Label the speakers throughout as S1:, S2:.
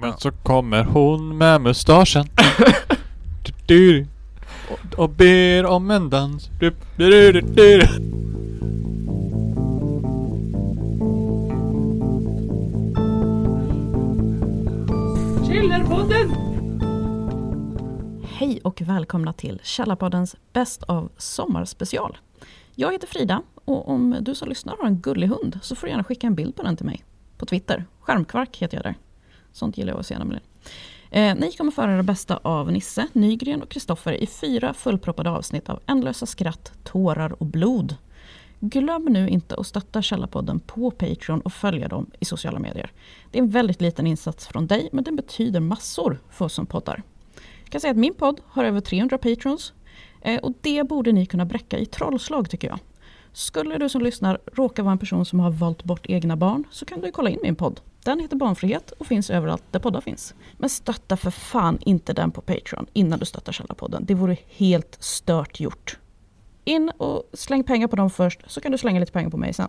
S1: Men så kommer hon med mustaschen. Du, du, och, och ber om en dans. Du, du, du, du, du.
S2: Hej och välkomna till Källarpoddens Bäst av sommarspecial. Jag heter Frida och om du som lyssnar har en gullig hund så får du gärna skicka en bild på den till mig. På Twitter. Skärmkvark heter jag där. Sånt gillar jag att se nämligen. Eh, ni kommer föra det bästa av Nisse, Nygren och Kristoffer i fyra fullproppade avsnitt av ändlösa skratt, tårar och blod. Glöm nu inte att stötta Källarpodden på Patreon och följa dem i sociala medier. Det är en väldigt liten insats från dig, men den betyder massor för oss som poddar. Jag kan säga att min podd har över 300 patrons eh, och det borde ni kunna bräcka i trollslag tycker jag. Skulle du som lyssnar råka vara en person som har valt bort egna barn så kan du kolla in min podd. Den heter Barnfrihet och finns överallt där poddar finns. Men stötta för fan inte den på Patreon innan du stöttar Källarpodden. Det vore helt stört gjort. In och släng pengar på dem först så kan du slänga lite pengar på mig sen.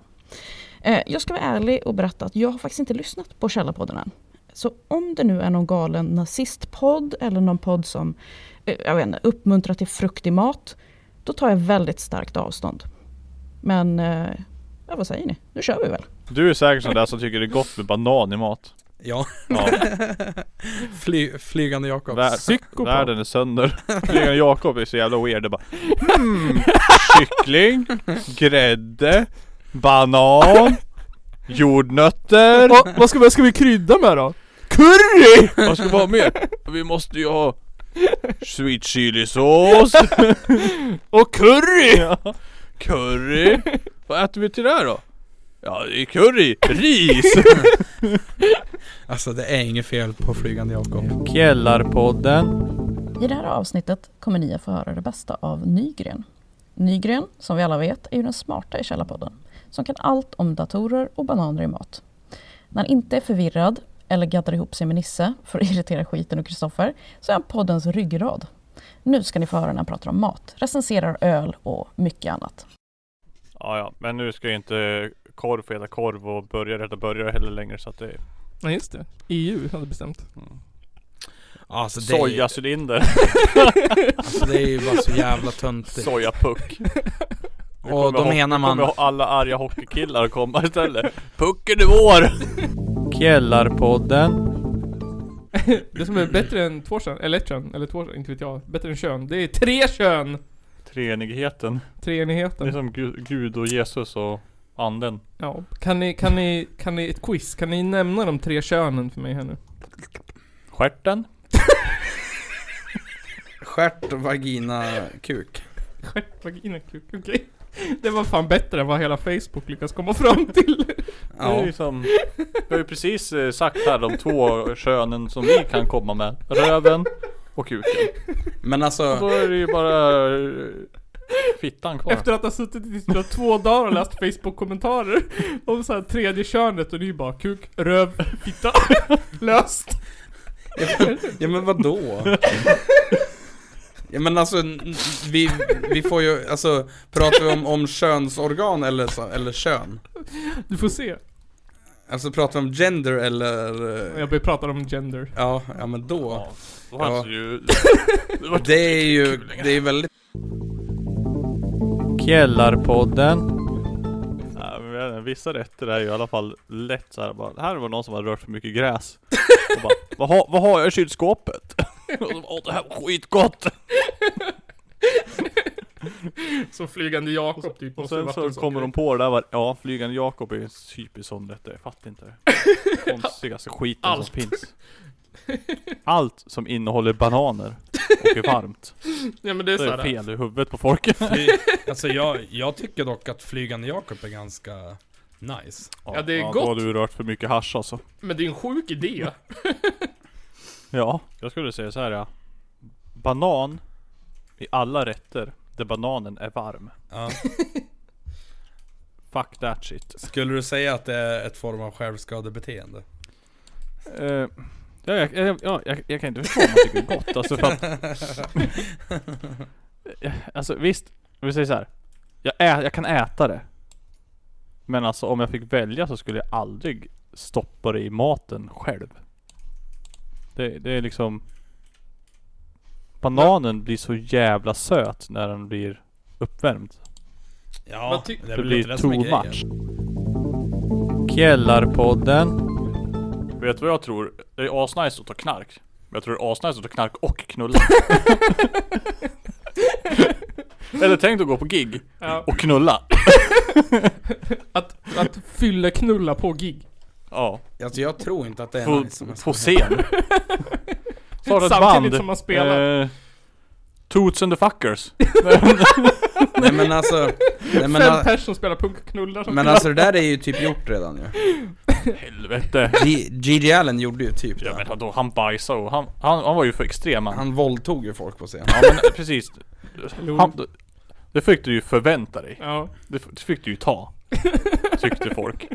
S2: Eh, Jag ska vara ärlig och berätta att jag har faktiskt inte lyssnat på Källarpodden än. Så om det nu är någon galen nazistpodd eller någon podd som eh, jag vet inte, uppmuntrar till fruktig mat, då tar jag väldigt starkt avstånd. Men eh, ja, vad säger ni? Nu kör vi väl?
S1: Du är säkert sån där som tycker det är gott med banan i mat.
S3: Ja,
S1: Ja,
S3: Fly, flygande Jakobs.
S1: vär,
S4: Psykopat.
S1: världen är sönder. Flygande Jakob är så jävla weird. Det bara hmm, kyckling, grädde, banan, jordnötter.
S4: Vad, vad ska, vad ska vi krydda med då? Curry!
S1: Vad ska vara mer? Vi måste ju ha sweet chilisås.
S4: Och curry!
S1: Ja. Curry. Vad äter vi till det här då? Ja, det är curry. Ris.
S3: Alltså det är inget fel på flygande Jakob.
S1: Källarpodden.
S2: I det här avsnittet kommer ni att få höra det bästa av Nygren. Nygren, som vi alla vet, är ju den smarta i Källarpodden, som kan allt om datorer och bananer i mat. När han inte är förvirrad eller gaddar ihop sig med Nisse för att irritera skiten och Kristoffer, så är han poddens ryggrad. Nu ska ni få höra när han pratar om mat, recenserar öl och mycket annat.
S1: Ja, ja, men nu ska ju inte korv få heta korv och burgare heta burgare heller längre så att det är
S4: Nej just det, EU hade bestämt.
S1: Mm.
S3: Alltså det, är,
S1: sojacylinder,
S3: alltså det är ju bara så jävla töntigt.
S1: sojapuck. Nu
S3: Och
S1: kommer
S3: då
S1: ho-
S3: menar
S1: nu
S3: man-
S1: kommer alla arga hockeykillar att komma istället. Pucken är vår! Källarpodden.
S4: Det som är bättre än två kön, eller ett kön, eller två inte vet jag. Bättre än kön. Det är tre kön!
S1: Treenigheten. Det är
S4: Treenigheten.
S1: som Gud, Gud och Jesus och anden.
S4: Ja. Kan ni, kan ni, kan ni, ett quiz. Kan ni nämna de tre könen för mig här nu?
S1: Stjärten.
S3: Stjärt, vagina, kuk.
S4: Stjärt, vagina, kuk, okej. Det var fan bättre än vad hela Facebook lyckas komma fram till.
S1: Det är
S3: Ja.
S1: ju som, vi har ju precis eh, sagt här de två könen som vi kan komma med. Röven och kuken.
S3: Men
S1: Och då
S3: alltså,
S1: är det ju bara eh, fittan kvar.
S4: Efter att ha suttit i typ två dagar och läst Facebook-kommentarer om så här tredje könet och det är ju bara kuk, röv, fitta. Löst.
S3: ja men vadå? Ja men alltså, n- vi, vi får ju, alltså, pratar vi om, om könsorgan eller, så, eller kön?
S4: Du får se.
S3: Alltså pratar vi om gender eller...
S4: Jag börjar prata om gender.
S3: Ja, ja men då.
S1: Ja, då hade
S3: Ja.
S1: ju...
S3: Det är ju, det är väldigt
S1: Källarpodden. Ja, men jag vet inte, vissa rätter är ju i alla fall lätt så här bara, här var någon som hade rört för mycket gräs. Och bara, vad, har- vad har jag i kylskåpet? Och så bara, Åh, det här var skitgott!
S4: Som flygande Jakob typ.
S1: Och
S4: måste
S1: sen
S4: varit
S1: så
S4: en sån
S1: kommer de
S4: grej.
S1: på det där var, ja flygande Jakob är ju en typisk sån rätt, jag fattar inte det. Konstigaste skiten
S4: Allt.
S1: som finns. Allt som innehåller bananer och är varmt.
S4: Ja men det är
S1: Det är
S4: såhär.
S1: fel i huvudet på folk.
S3: Fly- alltså jag, jag tycker dock att Flygande Jakob är ganska nice.
S4: Ja, det är
S1: Då
S4: gott.
S1: har du rört för mycket hasch alltså.
S4: Men det är en sjuk idé.
S1: Ja, jag skulle säga så här ja. Banan i alla rätter där bananen är varm.
S3: Ja.
S1: Fuck that shit.
S3: Skulle du säga att det är ett form av självskadebeteende?
S1: Eh, ja, jag, jag, ja, jag, jag kan inte förstå om man tycker det är gott. Alltså, för att, Eh, alltså visst, om vi säger så här. Jag, ä, jag kan äta det. Men alltså om jag fick välja så skulle jag aldrig stoppa det i maten själv. Det, det är liksom Bananen blir så jävla söt när den blir uppvärmd.
S3: Ja,
S4: Vad ty-
S1: Det,
S3: är väl inte
S1: blir
S3: som är grejen.
S1: too-much. Källarpodden. Vet du vad jag tror? Det är asnice att ta knark. Men jag tror det är asnice att ta knark och knulla. Eller tänk dig att gå på gig
S4: Ja.
S1: och knulla.
S4: Att, att fylla knulla på gig.
S1: Ja.
S3: Alltså jag tror inte att det är
S1: På,
S3: nice om jag ska
S1: på
S3: vara
S1: scen. Starta ett
S4: Samtidigt
S1: band.
S4: som man spelar.
S1: Eh, Toots and the fuckers.
S3: helt- Nej men alltså, nej, men,
S4: Fem
S3: a-
S4: personer som spelar punk och knullar. som
S3: men alltså det där är ju typ gjort redan ju.
S1: Helvete.
S3: G- G.G. Allen gjorde ju typ
S1: Ja men
S3: det.
S1: vadå, han bajsade och han, han, han var ju för extrem han.
S3: Han våldtog ju folk på scen.
S1: Ja men precis.
S3: eh,
S4: Jo.
S1: Han, det fick du ju förvänta dig.
S4: Ja.
S1: Det f- det fick du ju ta. Tyckte folk.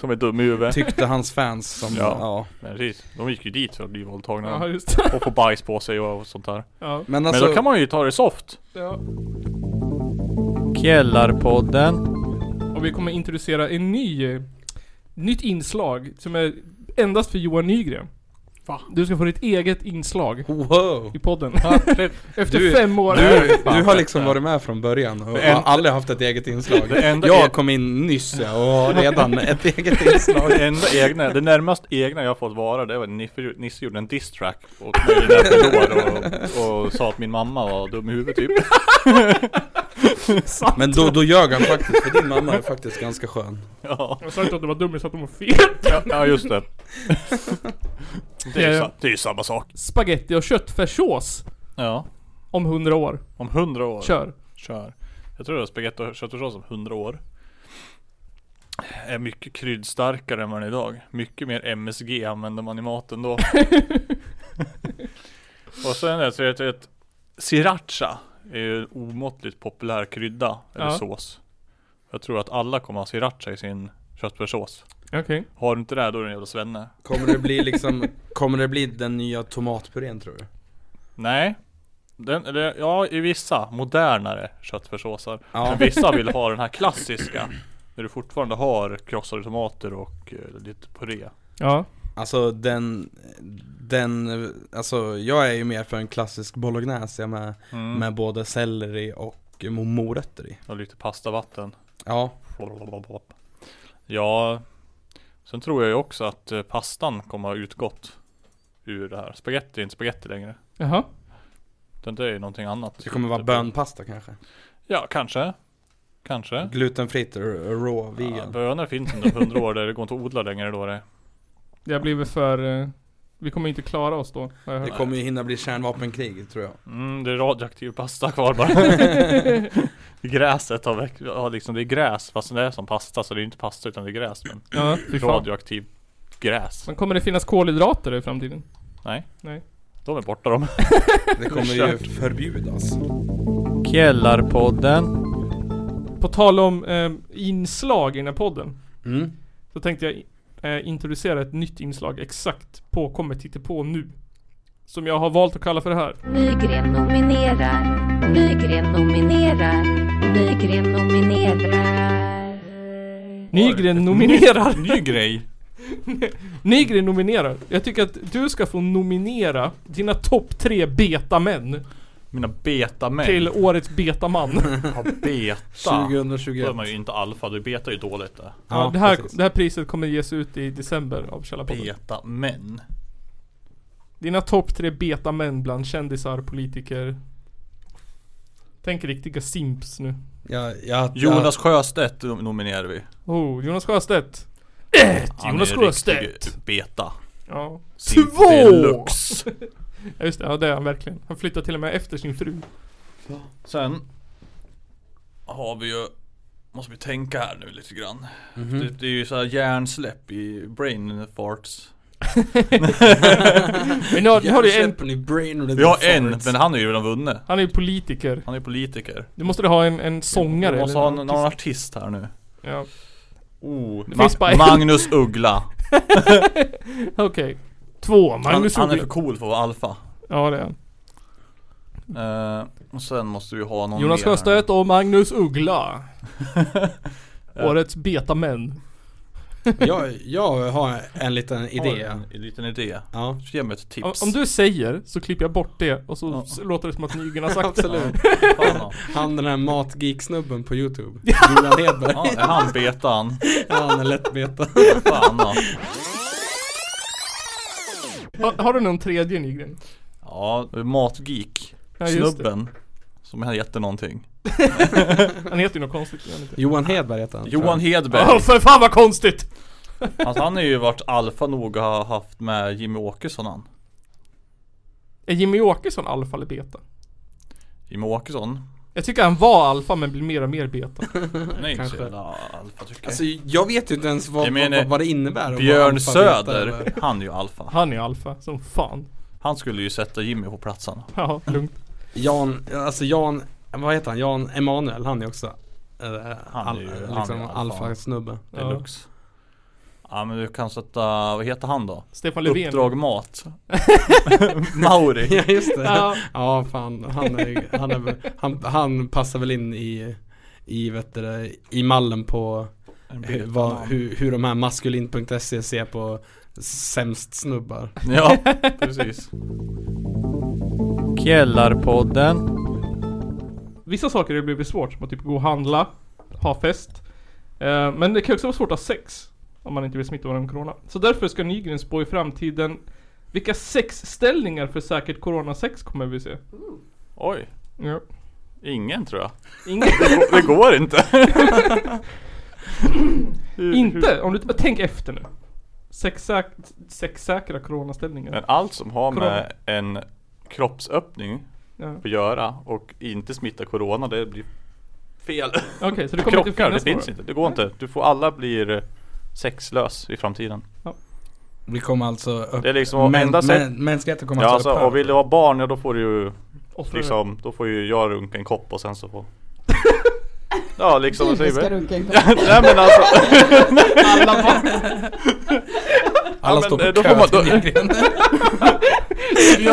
S1: Som är dum i huvudet.
S3: Tyckte hans fans som,
S1: Ja.
S3: ja.
S1: Men precis, de gick ju dit för att bli
S4: ja,
S1: våldtagna.
S4: just det.
S1: Och få bajs på sig och sånt där.
S4: Ja.
S3: Men
S1: Men
S3: alltså,
S1: då kan man ju ta det soft.
S4: ja.
S1: Källarpodden.
S4: Och vi kommer introducera en ny, eh, nytt inslag som är endast för Johan Nygren.
S1: Va?
S4: Du ska få ditt eget inslag
S3: wow.
S4: i podden. Efter
S3: Du-
S4: fem år.
S3: Du,
S1: fan,
S3: du har liksom
S1: bättre.
S3: varit med från början och
S1: Det
S3: har
S1: enda-
S3: aldrig haft ett eget inslag.
S1: Det enda är-
S3: Jag kom in nyss ja, och har redan ett eget inslag.
S1: Det enda egna, det närmast egna jag fått vara det var när Niffe- Nisse gjorde en diss-track åt mig i det där förlorar och, och sa att min mamma var dum i huvudet typ.
S3: Men då, då ljög han faktiskt, för din mamma är faktiskt ganska skön.
S1: Ja,
S4: Jag sa inte att du var dum, jag sa att de var fel.
S1: ja just det. Det är,
S4: Ja,
S1: ju
S4: ja.
S1: sa- det är ju samma sak.
S4: Spaghetti och köttfärssås.
S1: Ja.
S4: Om hundra år.
S1: Om hundra år.
S4: Kör.
S1: Kör. Jag tror det är spagetti och köttfärssås om 100 år. Är mycket kryddstarkare än vad den är idag. Mycket mer MSG använder man i maten då. och sen är det ett, ett Sriracha är ju en omåttligt populär krydda eller
S4: Ja.
S1: sås. Jag tror att alla kommer ha sriracha i sin köttfärssås.
S4: Okej.
S1: Har du inte det då är du en jävla svenne.
S3: Kommer det bli liksom, kommer det bli den nya tomatpurén tror du?
S1: Nej. Den, eller, ja, i vissa modernare köttfärssåsar.
S3: Ja.
S1: Men vissa vill ha den här klassiska. Där du fortfarande har krossade tomater och eh, lite puré.
S4: Ja.
S3: Alltså den, den, alltså jag är ju mer för en klassisk bolognese jag med,
S1: Mm.
S3: med både selleri och mo- morötter i.
S1: Och lite pastavatten.
S3: Ja,
S1: Ja. Sen tror jag ju också att eh, pastan kommer ha utgått. Ur det här. Spaghetti är inte spaghetti längre.
S4: Jaha.
S1: Utan det är ju någonting annat.
S3: det kommer vara
S1: Typ-
S3: bönpasta kanske.
S1: Ja, kanske. Kanske.
S3: Glutenfritt, r- raw,
S1: Ja,
S3: vegan.
S1: bönor finns inte om hundra år. där Det går inte att odla längre då det.
S4: Det blir väl för... eh, Vi kommer inte klara oss då. har jag
S3: Det
S4: hört.
S3: kommer ju hinna bli kärnvapenkrig tror jag.
S1: Mm, det är radioaktiv pasta kvar bara. Gräset har, väck- har liksom, det är gräs fast det är som pasta så det är inte pasta utan det är gräs men
S4: Ja, fy fan.
S1: radioaktiv gräs.
S4: Men kommer det finnas kolhydrater i framtiden?
S1: De är borta de.
S3: Det kommer ju förbjudas.
S1: Källarpodden.
S4: På tal om eh, inslag i den här podden.
S3: Mm.
S4: Så tänkte jag eh, introducera ett nytt inslag exakt på Kommer titta på nu. Som jag har valt att kalla för det här.
S5: Nygren nominerar. Nygren nominerar. Nygren nominerar.
S4: Nygren nominerar.
S1: Ny grej.
S4: Nygren nominerar. Jag tycker att du ska få nominera dina topp tre betamän
S1: Mina betamän.
S4: till årets betaman.
S1: Ja, beta. Då är
S3: 2021.
S1: man ju inte alfa, då är beta är ju dåligt det.
S4: ja, det, här,
S3: precis.
S4: det här priset kommer ges ut i december av Källarpodden.
S1: Betamän.
S4: Dina topp tre betamän bland kändisar, politiker. Tänk riktiga simps nu.
S3: Ja, ja,
S1: Jonas Sjöstedt nom- nominerar vi.
S4: Oh, Jonas Sjöstedt.
S1: Han är
S4: Jonas
S1: en riktig
S4: Sjöstedt.
S1: Beta.
S4: Ja.
S1: Simp
S4: Två!
S1: deluxe.
S4: Ja just det, ja det är han verkligen. Han flyttar till och med efter sin fru.
S1: Sen har vi ju, måste vi tänka här nu lite grann.
S3: ja.
S4: Mm.
S1: Det,
S3: Mhm.
S1: det är ju såhär hjärnsläpp i brain farts.
S4: Men nu har, nu har du en,
S3: Hjärnsläppen i brain
S1: Vi har en,
S3: farts.
S1: men han är ju redan vunnen.
S4: han är ju politiker.
S1: Han är politiker.
S4: Du måste ha en, en sångare
S1: Vi måste ha
S4: eller
S1: en,
S4: en
S1: någon
S4: artist.
S1: artist här nu.
S4: Ja.
S1: Oh,
S4: Det finns bara
S1: Ma-
S4: en.
S1: Magnus Uggla.
S4: Okej. Två, Magnus
S1: han, han är
S4: Uggla.
S1: för cool för att vara alfa.
S4: Ja det är han.
S1: Eh, och sen måste vi ha någon
S4: Jonas
S1: mer här.
S4: Sjöstedt och Magnus Uggla. Årets betamän.
S3: Jag, jag har en liten idé.
S1: Har du En liten idé.
S3: Ja,
S1: Ge mig ett tips.
S4: Om, om du säger så klipper jag bort det och så
S1: Ja.
S4: s- låter det som att Nygren har sagt det.
S3: absolut.
S1: Ja, fan, ja.
S3: Han den här matgeek-snubben på youtube. Julian Hedberg.
S1: Ja, är han betan?
S3: Ja, han är lättbeta.
S1: Fan ja.
S4: Har, har du någon tredje Nygren?
S1: Ja, matgeek.
S4: Ja, just det.
S1: Snubben. Som hette någonting.
S4: Han heter ju något konstigt. gör han inte?
S3: Johan Hedberg heter han. tror jag.
S1: Johan Hedberg.
S4: Ja, för fan vad konstigt!
S1: Alltså han har ju varit alfa nog och har haft med Jimmy Åkesson han.
S4: Är Jimmy Åkesson alfa eller beta?
S1: Jimmy Åkesson?
S4: Jag tycker han var alfa men blir mer och mer beta.
S1: Han är inte så
S3: Kanske.
S1: jävla alfa tycker jag.
S3: Alltså jag vet ju inte ens vad,
S1: Jag menar,
S3: vad, vad det innebär. att vara
S1: Björn
S3: analfabet
S1: Söder,
S3: eller-
S1: han är ju alfa.
S4: Han är alfa, som fan.
S1: Han skulle ju sätta Jimmy på platsen.
S4: Ja, lugnt.
S3: Jan, alltså Jan, vad heter han? Jan Emanuel, han är också eh,
S1: Han är ju- han är
S3: liksom
S1: alfa.
S3: alfa-snubbe.
S4: Ja.
S1: Deluxe. Ja men du kan sätta, vad heter han då?
S4: Stefan Löfven.
S1: Uppdrag Mat. Mauri.
S3: Ja just det. Ja,
S4: Ja,
S3: fan, han, är, han, är, han, han passar väl in i, i, vet du, det, i mallen på
S1: En
S3: hur,
S1: bild av
S3: vad,
S1: honom.
S3: hur, hur de här maskulin.se ser på sämst snubbar.
S1: Ja, precis. Källarpodden.
S4: vissa saker har blivit svårt, som att typ gå och handla, ha fest. Eh, men det kan också vara svårt att ha sex. Om man inte vill smitta varandra med corona. Så därför ska Nygren spå i framtiden vilka sexställningar för säkert coronasex kommer vi se.
S1: Oj,
S4: Ja.
S1: ingen tror jag.
S4: Ingen,
S1: Det går inte.
S4: inte! Om du, tänk efter nu. Sexsäk, sexsäkra coronaställningar.
S1: Men allt som har med en kroppsöppning
S4: Ja.
S1: att göra och inte smitta corona, det blir fel.
S4: Okej, så det kommer inte
S1: Krockar, det
S4: finnas
S1: finns
S4: några.
S1: inte. Det går inte. Du får, alla blir sexlös i framtiden.
S3: Vi kommer alltså upp,
S1: Det är liksom enda sätt.
S3: mänskligheten kommer
S1: Ja, alltså, och vill du ha barn, ja då får du ju
S4: Offra det.
S1: liksom, då får ju jag runka en kopp och sen så får... Ja liksom, vad
S6: Du
S1: säger
S6: ska
S1: vi?
S6: runka en gång.
S1: Nej men alltså,
S6: Alla barn.
S1: Ja,
S3: Alla
S1: men,
S3: står
S1: eh,
S3: på
S1: då
S3: då
S1: får
S3: kö
S1: man-
S3: man,
S1: då-
S3: till Lindgren.
S6: Det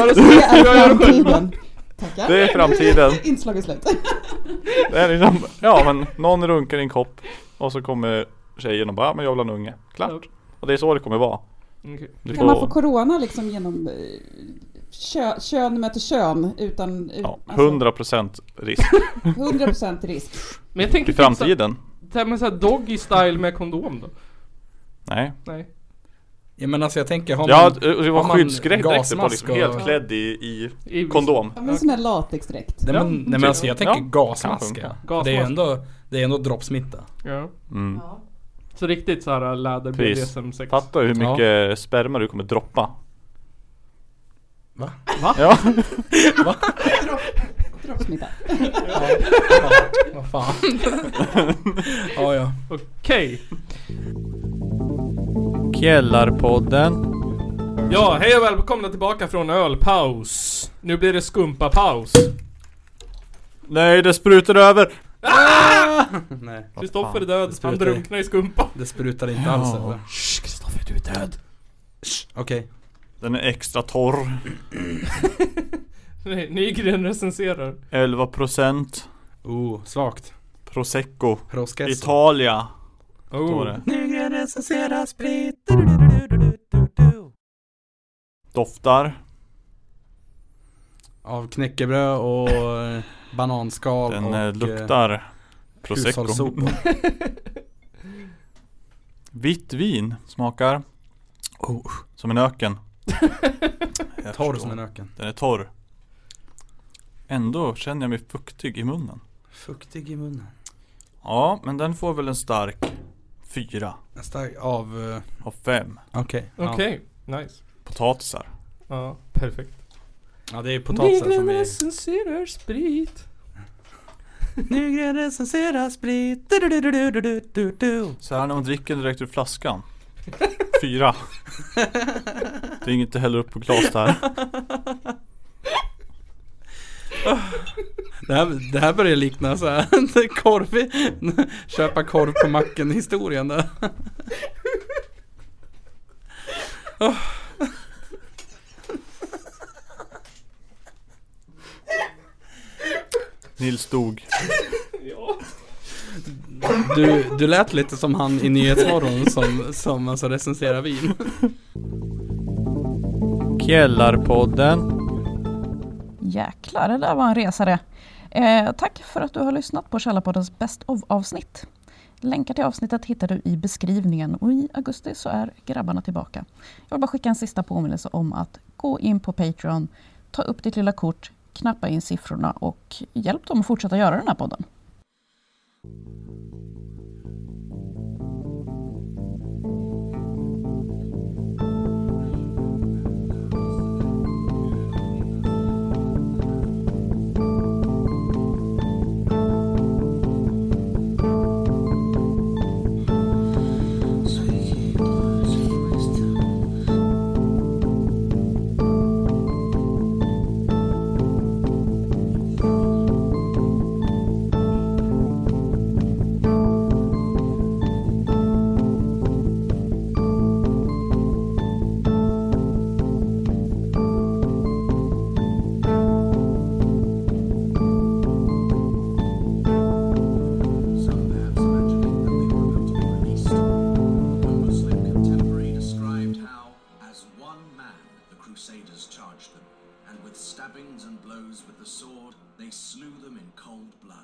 S6: är framtiden. Tackar.
S1: det är framtiden.
S6: Inslag är slut.
S1: Det är liksom, ja men någon runkar i en kopp och så kommer tjejen och bara, ja men jag vill ha en unge. Klart. Och det är så det kommer vara.
S4: Okej.
S1: Du
S6: Kan man
S1: får,
S6: få corona liksom genom eh, kö, kön möter kön utan... ut-
S1: ja,
S6: alltså,
S1: 100% risk
S6: 100% risk.
S4: Men jag tänker
S1: i
S4: typ så-
S1: framtiden.
S4: Det här med såhär doggy style med kondom då?
S1: Nej.
S4: Nej.
S3: Ja men alltså jag tänker, har
S1: Ja, eh,
S3: man,
S1: det
S3: har
S1: var
S3: man
S1: skyddsdräkter på
S3: gasmask
S1: liksom, helt
S3: och-
S1: klädd i, i
S4: I-
S1: kondom.
S6: Ja, men sån där latexdräkt.
S3: nej, men, nej men alltså jag tänker
S1: Ja,
S3: gasmask.
S1: kan funka.
S4: Gasmask.
S3: Det är ändå, det är ändå droppsmitta.
S4: Ja.
S1: Mm.
S4: Så riktigt såhär läder
S1: Precis.
S4: BDSM sex.
S1: Fattar hur mycket sperma du kommer droppa.
S3: Va?
S4: Va?
S1: Ja,
S6: Kroppssmitta.
S3: Vad fan. ja ja.
S4: Okej.
S1: Källarpodden.
S4: Ja, hej och välkomna tillbaka från ölpaus. Nu blir det skumpapaus.
S1: Nej, det sprutar över.
S3: Nej.
S4: Kristoffer är
S3: fan,
S4: död,
S3: det
S4: han
S3: sprutar i-
S4: drunknar i skumpa.
S3: Det sprutar inte alls eller?
S4: Shh, Kristoffer du är död.
S3: Okej.
S1: Den är extra torr.
S4: Nej, Nygren recenserar.
S1: 11%
S3: Oh, svagt.
S1: prosecco.
S3: Proskesso.
S1: Italia. Står
S4: Oh.
S1: det. Doftar.
S3: Av knäckebröd och eh, bananskal
S1: Den
S3: och
S1: eh,
S3: eh,
S1: luktar prosecco. Mm.
S3: hushållssopor.
S1: Vitt vin smakar oh, som en öken. Jag
S3: Torr
S1: förstår.
S3: som en öken.
S1: Den är torr. Ändå känner jag mig fuktig i munnen.
S3: Fuktig i munnen.
S1: Ja, men den får väl en stark fyra
S3: En stark av... eh,
S1: av fem
S3: Okej. ja.
S4: Okej, nice.
S1: potatisar.
S4: Ja, perfekt.
S3: Ja. det är potatisen som är...
S4: recenserar sprit.
S3: Nygren recenserar sprit.
S1: Så här när man dricker direkt ur flaskan. Fyra. Det är inget du häller upp på glas där.
S3: Det här, det här börjar likna så här, korv i, köpa korv på macken historien där.
S1: Nils dog.
S3: Du, du lät lite som han i Nyhetsmorgon som, som alltså recenserar vin.
S1: Källarpodden.
S2: Jäklar, det där var en resare. Eh, tack för att du har lyssnat på Källarpoddens Best of-avsnitt. Länkar till avsnittet hittar du i beskrivningen och i augusti så är grabbarna tillbaka. Jag vill bara skicka en sista påminnelse om att gå in på Patreon, ta upp ditt lilla kort, knappa in siffrorna och hjälp dem att fortsätta göra den här podden.
S7: Some maps mentioning that they were built and released. One Muslim contemporary described how, as one man, the Crusaders charged them, and with stabbings and blows with the sword, they slew them in cold blood.